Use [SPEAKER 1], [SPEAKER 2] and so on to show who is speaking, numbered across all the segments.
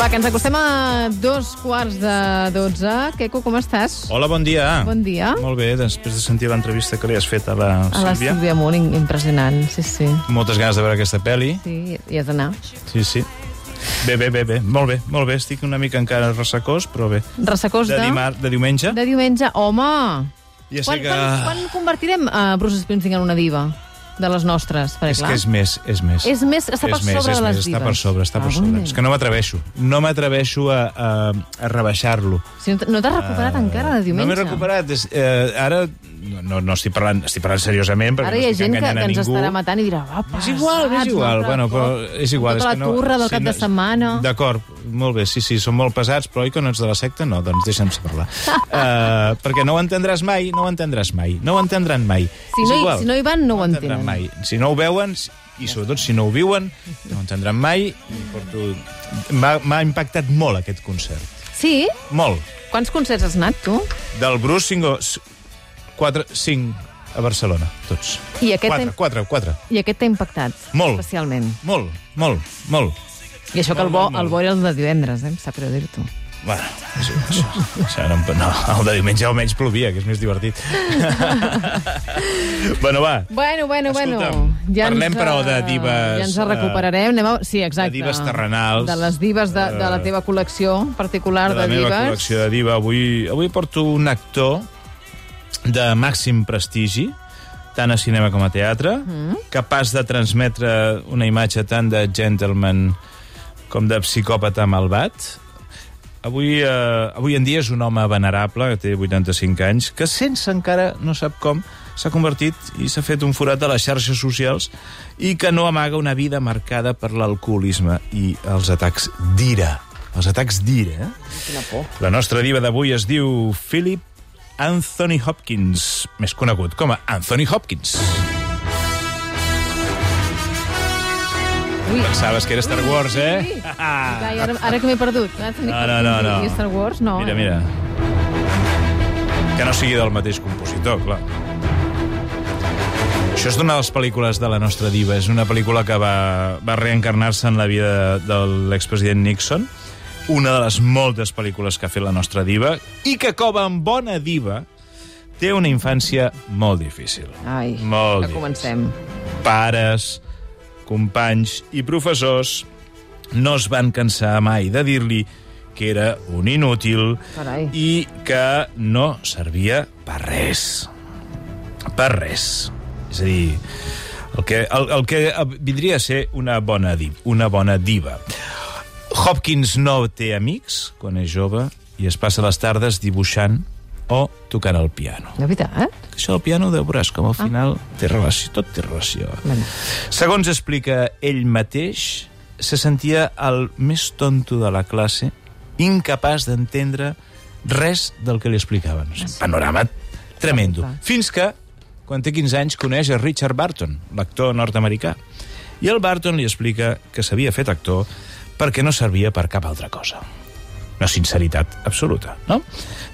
[SPEAKER 1] Va, que ens acostem a dos quarts de dotze. Queco, com estàs?
[SPEAKER 2] Hola, bon dia.
[SPEAKER 1] Bon dia.
[SPEAKER 2] Molt bé, després de sentir l'entrevista que li has fet a la
[SPEAKER 1] A la
[SPEAKER 2] Sílvia.
[SPEAKER 1] Sílvia Munt, im- impressionant, sí, sí.
[SPEAKER 2] Moltes ganes de veure aquesta pel·li.
[SPEAKER 1] Sí, hi has d'anar.
[SPEAKER 2] Sí, sí. Bé, bé, bé, bé. Molt bé, molt bé. Estic una mica encara ressecós, però bé.
[SPEAKER 1] Ressecós
[SPEAKER 2] De
[SPEAKER 1] de...
[SPEAKER 2] dimarts, de diumenge.
[SPEAKER 1] de diumenge. Home!
[SPEAKER 2] Ja sé
[SPEAKER 1] Quan,
[SPEAKER 2] que...
[SPEAKER 1] quan, quan convertirem a Bruce Springsteen en una diva? De les nostres, perquè
[SPEAKER 2] És
[SPEAKER 1] clar...
[SPEAKER 2] que és més, és més.
[SPEAKER 1] És més, està per
[SPEAKER 2] és més,
[SPEAKER 1] sobre
[SPEAKER 2] és
[SPEAKER 1] de les
[SPEAKER 2] més,
[SPEAKER 1] divas.
[SPEAKER 2] està per sobre, està per
[SPEAKER 1] Ah,
[SPEAKER 2] sobre.
[SPEAKER 1] molt
[SPEAKER 2] És
[SPEAKER 1] bé.
[SPEAKER 2] que no m'atreveixo. No m'atreveixo a, a, a rebaixar-lo.
[SPEAKER 1] Si no t- no t'has recuperat encara de diumenge.
[SPEAKER 2] Ah, No m'he recuperat. És, eh, ara no, no, no estic parlant, estic parlant seriosament perquè
[SPEAKER 1] Ara hi ha
[SPEAKER 2] no estic
[SPEAKER 1] gent que,
[SPEAKER 2] enganyant
[SPEAKER 1] que
[SPEAKER 2] a
[SPEAKER 1] ens
[SPEAKER 2] ningú.
[SPEAKER 1] estarà matant i dirà... Va,
[SPEAKER 2] És igual, és igual. Bueno, però és igual.
[SPEAKER 1] Tota
[SPEAKER 2] és que
[SPEAKER 1] la turra del
[SPEAKER 2] sí,
[SPEAKER 1] cap de setmana.
[SPEAKER 2] D'acord, molt bé, sí, sí, són molt pesats, però oi que no ets de la secta? No, doncs deixa'ns parlar. uh, perquè no ho entendràs mai, no ho entendràs mai, no ho entendran mai.
[SPEAKER 1] Si
[SPEAKER 2] és
[SPEAKER 1] no, hi,
[SPEAKER 2] igual,
[SPEAKER 1] si no hi van, no ho entenen.
[SPEAKER 2] entendran mai. Si no ho veuen, i sobretot si no ho viuen, no ho entendran mai. i Porto... M'ha m'ha impactat molt aquest concert.
[SPEAKER 1] Sí?
[SPEAKER 2] Molt.
[SPEAKER 1] Quants concerts has anat, tu?
[SPEAKER 2] Del Bruce Singo... 4, 5 a Barcelona, tots.
[SPEAKER 1] I aquest
[SPEAKER 2] 4,
[SPEAKER 1] hem-
[SPEAKER 2] 4, 4.
[SPEAKER 1] I aquest t'ha impactat.
[SPEAKER 2] Molt.
[SPEAKER 1] Especialment.
[SPEAKER 2] Molt, molt, molt.
[SPEAKER 1] I això que el bo,
[SPEAKER 2] Molt, molt,
[SPEAKER 1] el bo era el de divendres, eh? Em sap greu dir-t'ho.
[SPEAKER 2] Bueno, és igual, això, això no, em- no, el de diumenge almenys plovia, que és més divertit. bueno, va,
[SPEAKER 1] Bueno, bueno,
[SPEAKER 2] Escolta'm,
[SPEAKER 1] bueno.
[SPEAKER 2] parlem,
[SPEAKER 1] ens,
[SPEAKER 2] però, de
[SPEAKER 1] eh,
[SPEAKER 2] divas,
[SPEAKER 1] Ja ens en recuperarem. Anem a... Sí, exacte.
[SPEAKER 2] de divas terrenals.
[SPEAKER 1] De les divas de, de la
[SPEAKER 2] Eh,
[SPEAKER 1] teva col·lecció particular de,
[SPEAKER 2] de la meva
[SPEAKER 1] divas.
[SPEAKER 2] col·lecció de diva. Avui, avui porto un actor de màxim prestigi, tant a cinema com a teatre, mm. capaç de transmetre una imatge tant de gentleman com de psicòpata malvat. Avui, eh, avui en dia és un home venerable, que té 85 anys, que sense encara, no sap com, s'ha convertit i s'ha fet un forat a les xarxes socials i que no amaga una vida marcada per l'alcoholisme i els atacs d'ira. Els atacs d'ira, eh?
[SPEAKER 1] Quina por.
[SPEAKER 2] La nostra diva d'avui es diu Philip Anthony Hopkins, més conegut com a Anthony Hopkins.
[SPEAKER 1] Ui.
[SPEAKER 2] Pensaves que era Star Wars,
[SPEAKER 1] Ui,
[SPEAKER 2] eh?
[SPEAKER 1] ui. Ai, ara, ara que m'he perdut.
[SPEAKER 2] No, no, no, no.
[SPEAKER 1] I Star Wars, no.
[SPEAKER 2] Mira, mira. Que no sigui del mateix compositor, clar. Això és d'una de les pel·lícules de la nostra diva. És una pel·lícula que va, va reencarnar-se en la vida de, de l'expresident Nixon. Una de les moltes pel·lícules que ha fet la nostra diva i que, com a bona diva, té una infància molt difícil.
[SPEAKER 1] Ai,
[SPEAKER 2] Molt
[SPEAKER 1] que
[SPEAKER 2] bé.
[SPEAKER 1] comencem.
[SPEAKER 2] Pares, companys i professors no es van cansar mai de dir-li que era un inútil
[SPEAKER 1] Carai.
[SPEAKER 2] i que no servia per res. Per res. És a dir, el que, el, el que vindria a ser una bona, div, una bona diva. Hopkins no té amics quan és jove i es passa les tardes dibuixant o tocant el piano.
[SPEAKER 1] De veritat, eh?
[SPEAKER 2] Això del piano ho veuràs com al final té relació, tot té relació.
[SPEAKER 1] Bueno.
[SPEAKER 2] Segons explica ell mateix, se sentia el més tonto de la classe, incapaç d'entendre res del que li explicaven. És un Panorama tremendo. Fins que, quan té 15 anys, coneix a Richard Barton, l'actor nord-americà. I el Barton li explica que s'havia fet actor perquè no servia per cap altra cosa una sinceritat absoluta, no?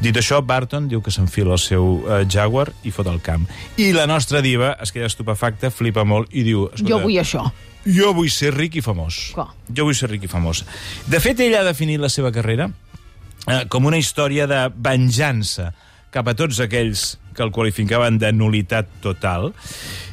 [SPEAKER 2] Dit això, Barton diu que s'enfila el seu eh, Jaguar i fot el camp. I la nostra diva es queda estupefacta, flipa molt i diu...
[SPEAKER 1] Jo vull això.
[SPEAKER 2] jo vull ser ric i famós.
[SPEAKER 1] Clar.
[SPEAKER 2] Jo vull ser ric i famós. De fet, ell ha definit la seva carrera eh, com una història de venjança cap a tots aquells que el qualificaven de nulitat total,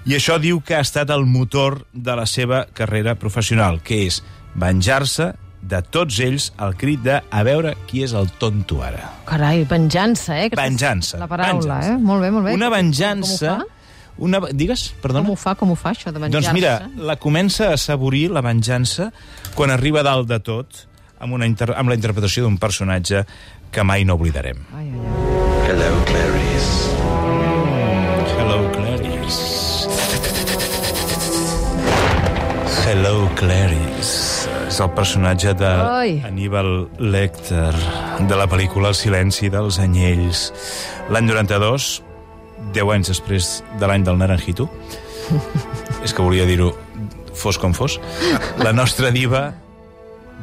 [SPEAKER 2] i això diu que ha estat el motor de la seva carrera professional, que és venjar-se de tots ells al crit de a veure qui és el tonto ara.
[SPEAKER 1] Carai, venjança, eh? Aquesta és
[SPEAKER 2] Venjança,
[SPEAKER 1] La paraula,
[SPEAKER 2] venjança.
[SPEAKER 1] eh? Molt bé, molt bé.
[SPEAKER 2] Una venjança...
[SPEAKER 1] Com ho fa?
[SPEAKER 2] Una... Digues, perdona?
[SPEAKER 1] Com ho fa, com ho fa, això de venjança?
[SPEAKER 2] Doncs mira, la comença a saborir, la venjança, quan arriba a dalt de tot, amb, una inter amb la interpretació d'un personatge que mai no oblidarem.
[SPEAKER 1] Ai, ai, ai.
[SPEAKER 3] Hello, Clarice.
[SPEAKER 2] Hello, Clarice. Hello, Clarice. És el personatge de
[SPEAKER 1] Ai.
[SPEAKER 2] Aníbal Lecter, de la pel·lícula El silenci dels anyells. L'any 92, 10 anys després de l'any del Naranjito, és que volia dir-ho fos com fos, la nostra diva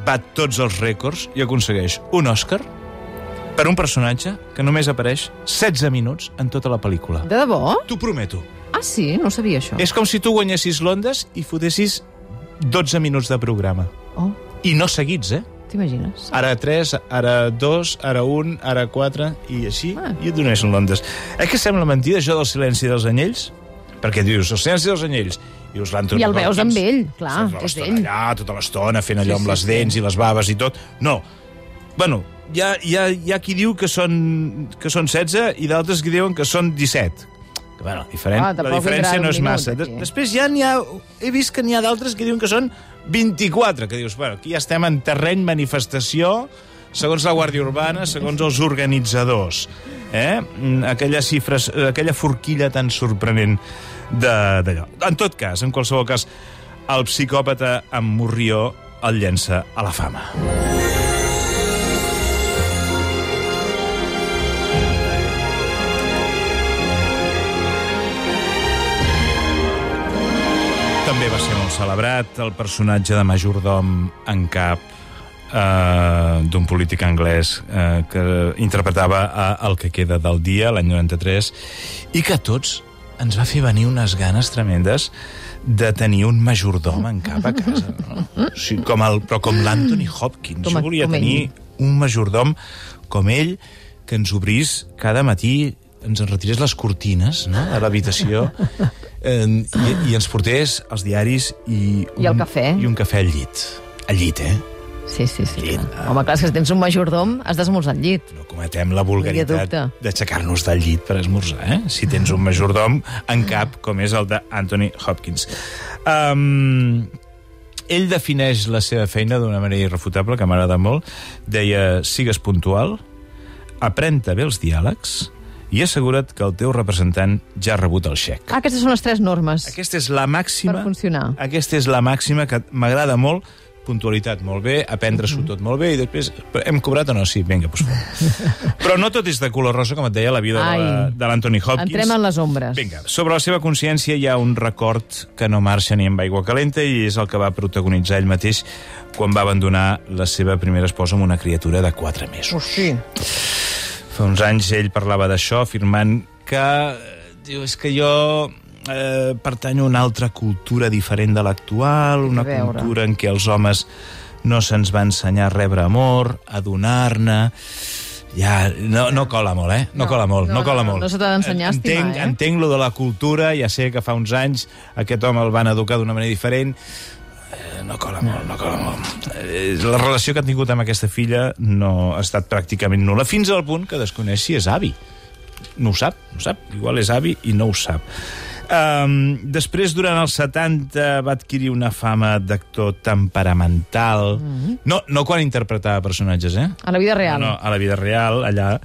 [SPEAKER 2] bat tots els rècords i aconsegueix un Òscar per un personatge que només apareix 16 minuts en tota la pel·lícula.
[SPEAKER 1] De debò?
[SPEAKER 2] T'ho prometo.
[SPEAKER 1] Ah, sí? No ho sabia, això.
[SPEAKER 2] És com si tu guanyessis Londres i fotessis 12 minuts de programa.
[SPEAKER 1] Oh,
[SPEAKER 2] I no seguits, eh?
[SPEAKER 1] T'imagines?
[SPEAKER 2] Ara 3, ara 2, ara 1, ara 4, i així,
[SPEAKER 1] Ah.
[SPEAKER 2] ah. i et doneixen l'ondes. És que sembla mentida, això del silenci dels anyells? Perquè dius, el silenci dels anyells, i us l'han doncs,
[SPEAKER 1] I el veus amb ell, clar, és
[SPEAKER 2] Tota
[SPEAKER 1] ell.
[SPEAKER 2] l'estona allà, tota l'estona, fent allò
[SPEAKER 1] Sí,
[SPEAKER 2] amb
[SPEAKER 1] sí,
[SPEAKER 2] les
[SPEAKER 1] sí.
[SPEAKER 2] dents i les baves i tot. No. Bueno, hi ha, hi ha, hi ha qui diu que són, que són 16 i d'altres que diuen que són 17. Que, bueno, diferent,
[SPEAKER 1] Ah,
[SPEAKER 2] la
[SPEAKER 1] tampoc
[SPEAKER 2] diferència
[SPEAKER 1] entrarà
[SPEAKER 2] no
[SPEAKER 1] un
[SPEAKER 2] és
[SPEAKER 1] minut,
[SPEAKER 2] massa. De,
[SPEAKER 1] aquí.
[SPEAKER 2] després ja n'hi ha... He vist que n'hi ha d'altres que diuen que són 24, que dius, bueno, aquí ja estem en terreny manifestació, segons la Guàrdia Urbana, segons els organitzadors. Eh? Mm, Aquelles xifres, eh, aquella forquilla tan sorprenent de- d'allò. En tot cas, en qualsevol cas, el psicòpata amb Morrió el llença a la fama. També va ser molt celebrat el personatge de majordom en cap eh, d'un polític anglès eh, que interpretava a El que queda del dia, l'any 93, i que a tots ens va fer venir unes ganes tremendes de tenir un majordom en cap a casa. No? O sigui, com el, però com l'Anthony Hopkins.
[SPEAKER 1] Com-
[SPEAKER 2] jo volia
[SPEAKER 1] com ell.
[SPEAKER 2] tenir un majordom com ell que ens obrís cada matí, ens en retirés les cortines no? de l'habitació eh, i, i ens portés els diaris i un,
[SPEAKER 1] I el cafè.
[SPEAKER 2] i un cafè al llit. Al llit, eh?
[SPEAKER 1] Sí, sí, sí.
[SPEAKER 2] Llit.
[SPEAKER 1] Home, clar, és que si tens un majordom, has d'esmorzar al llit.
[SPEAKER 2] No cometem la
[SPEAKER 1] No hi ha
[SPEAKER 2] vulgaritat
[SPEAKER 1] dubte.
[SPEAKER 2] d'aixecar-nos del llit per esmorzar, eh? Si tens un majordom en cap, com és el d'Anthony Hopkins. Um, ell defineix la seva feina d'una manera irrefutable, que m'agrada molt. Deia, sigues puntual, aprenta bé els diàlegs i assegura't que el teu representant ja ha rebut el xec.
[SPEAKER 1] Ah, aquestes són les tres normes
[SPEAKER 2] Aquesta és la
[SPEAKER 1] per
[SPEAKER 2] màxima
[SPEAKER 1] funcionar.
[SPEAKER 2] aquesta és la màxima que m'agrada molt, puntualitat molt bé, aprendre-s'ho
[SPEAKER 1] Mhm.
[SPEAKER 2] tot molt bé i després però hem cobrat o no? Sí, vinga, doncs fem. Però no tot és de color rosa, com et deia, la vida de la-
[SPEAKER 1] Ai.
[SPEAKER 2] de l'Anthony Hopkins.
[SPEAKER 1] Entrem en les ombres.
[SPEAKER 2] Vinga, sobre la seva consciència hi ha un record que no marxa ni amb aigua calenta i és el que va protagonitzar ell mateix quan va abandonar la seva primera esposa amb una criatura de 4 mesos.
[SPEAKER 1] Hosti.
[SPEAKER 2] Fa uns anys ell parlava d'això, afirmant que... eh, Diu, és que jo eh, pertanyo a una altra cultura diferent de l'actual, una
[SPEAKER 1] veure.
[SPEAKER 2] cultura en què els homes no se'ns va ensenyar a rebre amor, a donar-ne... Ja, no, no cola molt, eh? No,
[SPEAKER 1] No,
[SPEAKER 2] cola molt,
[SPEAKER 1] no,
[SPEAKER 2] no, cola
[SPEAKER 1] no,
[SPEAKER 2] molt.
[SPEAKER 1] no se t'ha d'ensenyar a estimar,
[SPEAKER 2] entenc,
[SPEAKER 1] eh?
[SPEAKER 2] Entenc lo de la cultura, ja sé que fa uns anys aquest home el van educar d'una manera diferent, Eh, no cola molt, no cola molt. Eh, La relació que han tingut amb aquesta filla no ha estat pràcticament nul·la, fins al punt que desconeix si és avi. No ho sap, no ho sap. Igual és avi i no ho sap. Um, després, durant els 70, va adquirir una fama d'actor temperamental. Mm -hmm. no, no quan interpretava personatges, eh?
[SPEAKER 1] A la vida real.
[SPEAKER 2] No, no, a la vida real, allà,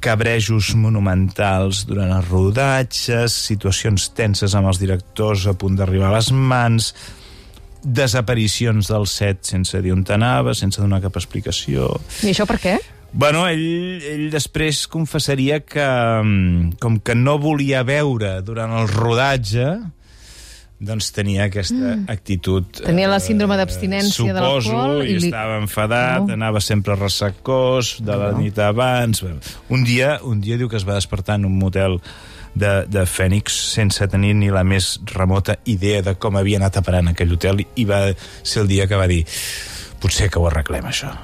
[SPEAKER 2] cabrejos monumentals durant els rodatges, situacions tenses amb els directors a punt d'arribar a les mans, desaparicions del set sense dir on t'anava, sense donar cap explicació...
[SPEAKER 1] I això per què?
[SPEAKER 2] Bueno, ell, ell després confessaria que, mm, com que no volia veure durant el rodatge, doncs tenia aquesta actitud...
[SPEAKER 1] Mm. Tenia la
[SPEAKER 2] eh,
[SPEAKER 1] síndrome d'abstinència de l'alcohol
[SPEAKER 2] Suposo, i,
[SPEAKER 1] i li-
[SPEAKER 2] estava enfadat,
[SPEAKER 1] No.
[SPEAKER 2] no. anava sempre ressecós de la
[SPEAKER 1] No.
[SPEAKER 2] nit abans... Bé, Un dia, un dia diu que es va despertar en un motel de, de Fènix sense tenir ni la més remota idea de com havia anat a parar en aquell hotel i va ser el dia que va dir potser que ho arreglem, això.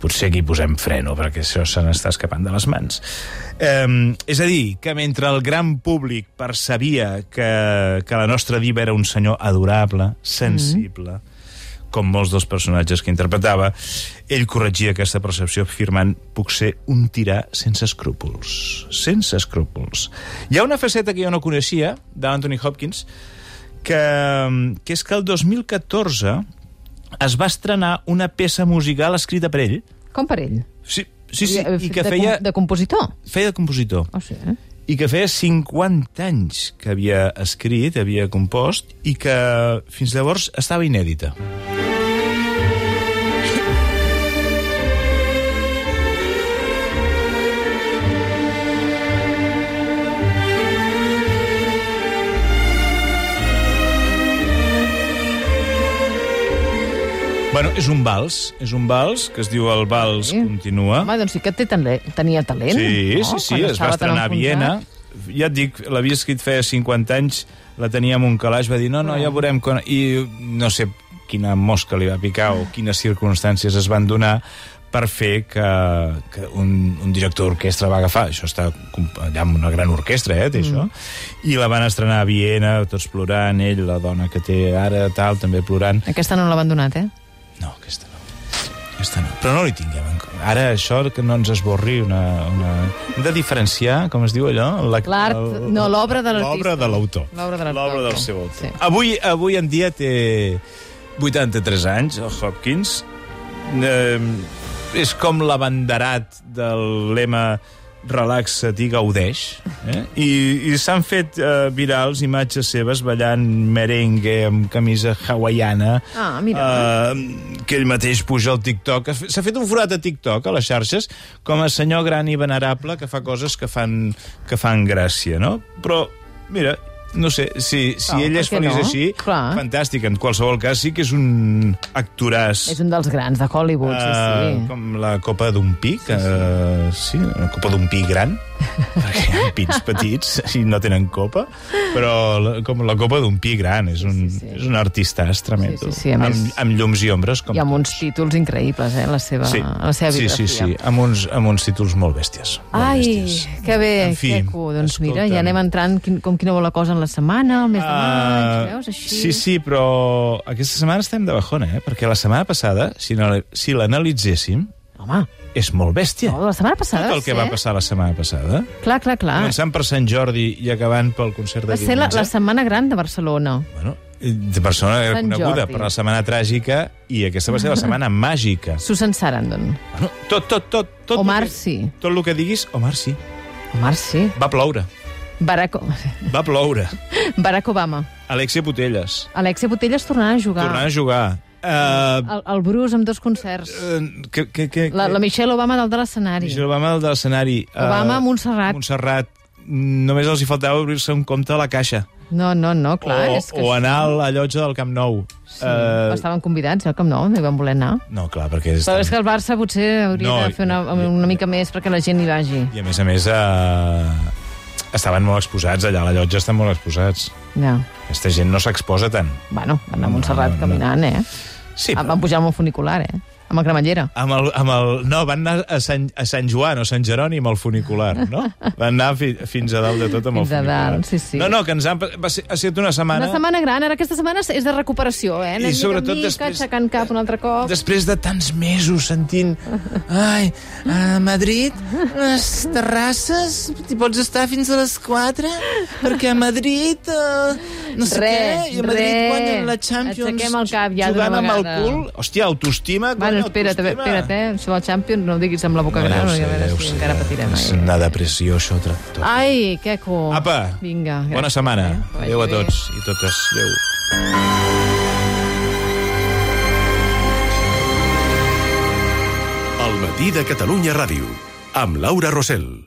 [SPEAKER 2] Potser aquí posem freno, perquè això se n'està escapant de les mans. Um, és a dir, que mentre el gran públic percebia que, que la nostra diva era un senyor adorable, sensible, mm -hmm. com molts dels personatges que interpretava, ell corregia aquesta percepció afirmant puc ser un tirà sense escrúpols. Sense escrúpols. Hi ha una faceta que jo no coneixia, d'Anthony Hopkins, que, que és que el 2014 es va estrenar una peça musical escrita per ell.
[SPEAKER 1] Com per ell?
[SPEAKER 2] Sí, sí, sí
[SPEAKER 1] Havia-
[SPEAKER 2] i que
[SPEAKER 1] de,
[SPEAKER 2] feia,
[SPEAKER 1] com- De compositor? Oh, eh?
[SPEAKER 2] feia de compositor
[SPEAKER 1] O sigui,
[SPEAKER 2] i que feia 50 anys que havia escrit, havia compost, i que fins llavors estava inèdita. Bueno, és un vals, és un vals que es diu el vals
[SPEAKER 1] Sí.
[SPEAKER 2] continua.
[SPEAKER 1] Home, doncs sí que té tale- tenia talent.
[SPEAKER 2] Ah. Sí,
[SPEAKER 1] no?
[SPEAKER 2] sí, sí,
[SPEAKER 1] Quan
[SPEAKER 2] es va
[SPEAKER 1] estava tan
[SPEAKER 2] estrenar a
[SPEAKER 1] enfonsat.
[SPEAKER 2] Viena. Ja et dic, l'havia escrit feia 50 anys, la tenia en un calaix, va dir, no, no, ja veurem... Quan... I, no sé, quina mosca li va picar o quines circumstàncies es van donar per fer que, que un, un director d'orquestra va agafar, això està com- allà amb una gran orquestra, eh, té això,
[SPEAKER 1] Mm.
[SPEAKER 2] i la van estrenar a Viena, tots plorant, ell, la dona que té ara, tal, també plorant.
[SPEAKER 1] Aquesta no l'ha abandonat, eh?
[SPEAKER 2] No, aquesta no. Aquesta no. Però no li tinguem en compte. Ara, això que no ens esborri una... una... Hem de diferenciar, com es diu allò? La-
[SPEAKER 1] L'art-
[SPEAKER 2] el-
[SPEAKER 1] no, l'obra de l'artista.
[SPEAKER 2] L'obra de l'autor.
[SPEAKER 1] L'obra de l'autor.
[SPEAKER 2] L'obra del seu autor.
[SPEAKER 1] Sí.
[SPEAKER 2] Sí. Avui, avui en dia té 83 anys, el Hopkins. Eh, és com l'abanderat del lema relaxa't i gaudeix. Eh? I, i s'han fet eh, virals imatges seves ballant merengue amb camisa hawaiana
[SPEAKER 1] Ah, mira.
[SPEAKER 2] eh, que ell mateix puja al TikTok. Es- S'ha fet un forat a TikTok, a les xarxes, com a senyor gran i venerable que fa coses que fan, que fan gràcia, no? Però, mira, no sé, si, si
[SPEAKER 1] No,
[SPEAKER 2] ell
[SPEAKER 1] per
[SPEAKER 2] es
[SPEAKER 1] què
[SPEAKER 2] feliç
[SPEAKER 1] no? Ah.
[SPEAKER 2] així,
[SPEAKER 1] Clar.
[SPEAKER 2] fantàstic. En qualsevol cas, sí que és un actoràs...
[SPEAKER 1] És un dels grans de Hollywood, sí,
[SPEAKER 2] eh,
[SPEAKER 1] sí.
[SPEAKER 2] com la copa d'un pi, que, eh, sí, la copa d'un pi gran, perquè hi ha pins petits i no tenen copa, però la, com la copa d'un pi gran, és un,
[SPEAKER 1] sí,
[SPEAKER 2] sí,
[SPEAKER 1] sí.
[SPEAKER 2] sí, és un artista tremendo,
[SPEAKER 1] Sí, sí, sí, a més-
[SPEAKER 2] amb, amb llums i ombres. Com
[SPEAKER 1] I amb uns títols increïbles, eh? La seva, la seva
[SPEAKER 2] sí, sí,
[SPEAKER 1] biografia.
[SPEAKER 2] sí, amb uns, amb uns títols molt bèsties. Molt
[SPEAKER 1] Ai,
[SPEAKER 2] bèsties.
[SPEAKER 1] que bé,
[SPEAKER 2] En fi,
[SPEAKER 1] que cu. Doncs mira,
[SPEAKER 2] escolta'm.
[SPEAKER 1] ja anem entrant quin, com quina vol la cosa en la setmana, el mes de maig, veus, així?
[SPEAKER 2] Ah, Sí, sí, però aquesta setmana estem de bajona, eh? Perquè la setmana passada, si, no, si l'analitzéssim,
[SPEAKER 1] Home,
[SPEAKER 2] és molt bèstia.
[SPEAKER 1] no, la setmana passada
[SPEAKER 2] Tot el que
[SPEAKER 1] ser.
[SPEAKER 2] va passar la setmana passada.
[SPEAKER 1] Clar, clar, clar.
[SPEAKER 2] Començant per Sant Jordi i acabant pel concert de
[SPEAKER 1] Ah. Va ser la,
[SPEAKER 2] diumenge.
[SPEAKER 1] la setmana gran de Barcelona.
[SPEAKER 2] Bueno, eh, de persona era
[SPEAKER 1] Sant
[SPEAKER 2] coneguda
[SPEAKER 1] Jordi.
[SPEAKER 2] per la setmana tràgica i aquesta va ser la setmana màgica.
[SPEAKER 1] Susan Sarandon.
[SPEAKER 2] Bueno, tot, tot, tot, tot...
[SPEAKER 1] Omar
[SPEAKER 2] lo que,
[SPEAKER 1] sí.
[SPEAKER 2] Tot el que diguis, Omar sí.
[SPEAKER 1] Omar sí.
[SPEAKER 2] Va ploure.
[SPEAKER 1] Barack, O-
[SPEAKER 2] Va ploure.
[SPEAKER 1] Barack Obama.
[SPEAKER 2] Alexia Putelles.
[SPEAKER 1] Alexia Botelles tornarà a jugar.
[SPEAKER 2] Tornant a jugar. Uh,
[SPEAKER 1] El, el Bruce amb dos concerts.
[SPEAKER 2] que, que, que,
[SPEAKER 1] La, la Michelle Obama dalt de l'escenari.
[SPEAKER 2] Michelle Obama del de l'escenari. Eh,
[SPEAKER 1] Obama, Montserrat.
[SPEAKER 2] Montserrat. Mm, Només els hi faltava obrir-se un compte a la caixa.
[SPEAKER 1] No, no, no, clar.
[SPEAKER 2] o,
[SPEAKER 1] és que
[SPEAKER 2] o eh, anar a la llotja del Camp Nou.
[SPEAKER 1] Sí, Estaven convidats, eh, com no, no hi van voler anar.
[SPEAKER 2] No, clar, perquè...
[SPEAKER 1] Però
[SPEAKER 2] estan-
[SPEAKER 1] és que el Barça potser hauria
[SPEAKER 2] No,
[SPEAKER 1] de fer una, una mica més perquè la gent hi vagi.
[SPEAKER 2] I a més a més, eh, estaven molt exposats allà, a la llotja estan molt exposats.
[SPEAKER 1] Ja.
[SPEAKER 2] Aquesta gent no s'exposa tant.
[SPEAKER 1] Bueno, van anar a Montserrat
[SPEAKER 2] No, no, no.
[SPEAKER 1] caminant, eh?
[SPEAKER 2] Sí,
[SPEAKER 1] Van pujar amb un funicular, eh? Amb la cremallera.
[SPEAKER 2] amb el, amb el, no, van anar a Sant, a Sant Joan o Sant Jeroni amb el funicular, no? Van anar fi, fins a dalt de tot amb
[SPEAKER 1] Fins
[SPEAKER 2] el
[SPEAKER 1] a
[SPEAKER 2] funicular.
[SPEAKER 1] dalt, sí, sí.
[SPEAKER 2] No, no, que ens han, va ser, ha sigut una setmana...
[SPEAKER 1] Una setmana gran, ara aquesta setmana és de recuperació, eh? Anem
[SPEAKER 2] I sobretot
[SPEAKER 1] mica, en mica,
[SPEAKER 2] després-
[SPEAKER 1] aixecant cap un altre cop.
[SPEAKER 2] Després de tants mesos sentint... Ai, a Madrid, les terrasses, t'hi pots estar fins a les 4, perquè a Madrid... Eh, no sé
[SPEAKER 1] Res,
[SPEAKER 2] què, i a Madrid
[SPEAKER 1] res.
[SPEAKER 2] guanyen la Champions
[SPEAKER 1] Aixequem el cap ja
[SPEAKER 2] jugant
[SPEAKER 1] d'una
[SPEAKER 2] amb el
[SPEAKER 1] vegada.
[SPEAKER 2] cul. Hòstia, autoestima,
[SPEAKER 1] Bueno,
[SPEAKER 2] guanya
[SPEAKER 1] espera't,
[SPEAKER 2] autoestima.
[SPEAKER 1] espera't, eh? Això del Champions no ho diguis amb la boca
[SPEAKER 2] No, ja
[SPEAKER 1] gran,
[SPEAKER 2] ho
[SPEAKER 1] perquè
[SPEAKER 2] sé,
[SPEAKER 1] a veure
[SPEAKER 2] ja ho
[SPEAKER 1] si
[SPEAKER 2] sé.
[SPEAKER 1] encara patirem.
[SPEAKER 2] És
[SPEAKER 1] ai,
[SPEAKER 2] una depressió, això, tractor.
[SPEAKER 1] Ai, queco.
[SPEAKER 2] Apa,
[SPEAKER 1] Vinga.
[SPEAKER 2] bona
[SPEAKER 1] gràcies,
[SPEAKER 2] setmana.
[SPEAKER 1] Ah, eh? Que vagi
[SPEAKER 2] Adéu a
[SPEAKER 1] bé.
[SPEAKER 2] tots i totes. Adéu.
[SPEAKER 4] El matí de Catalunya Ràdio, amb Laura Rosell.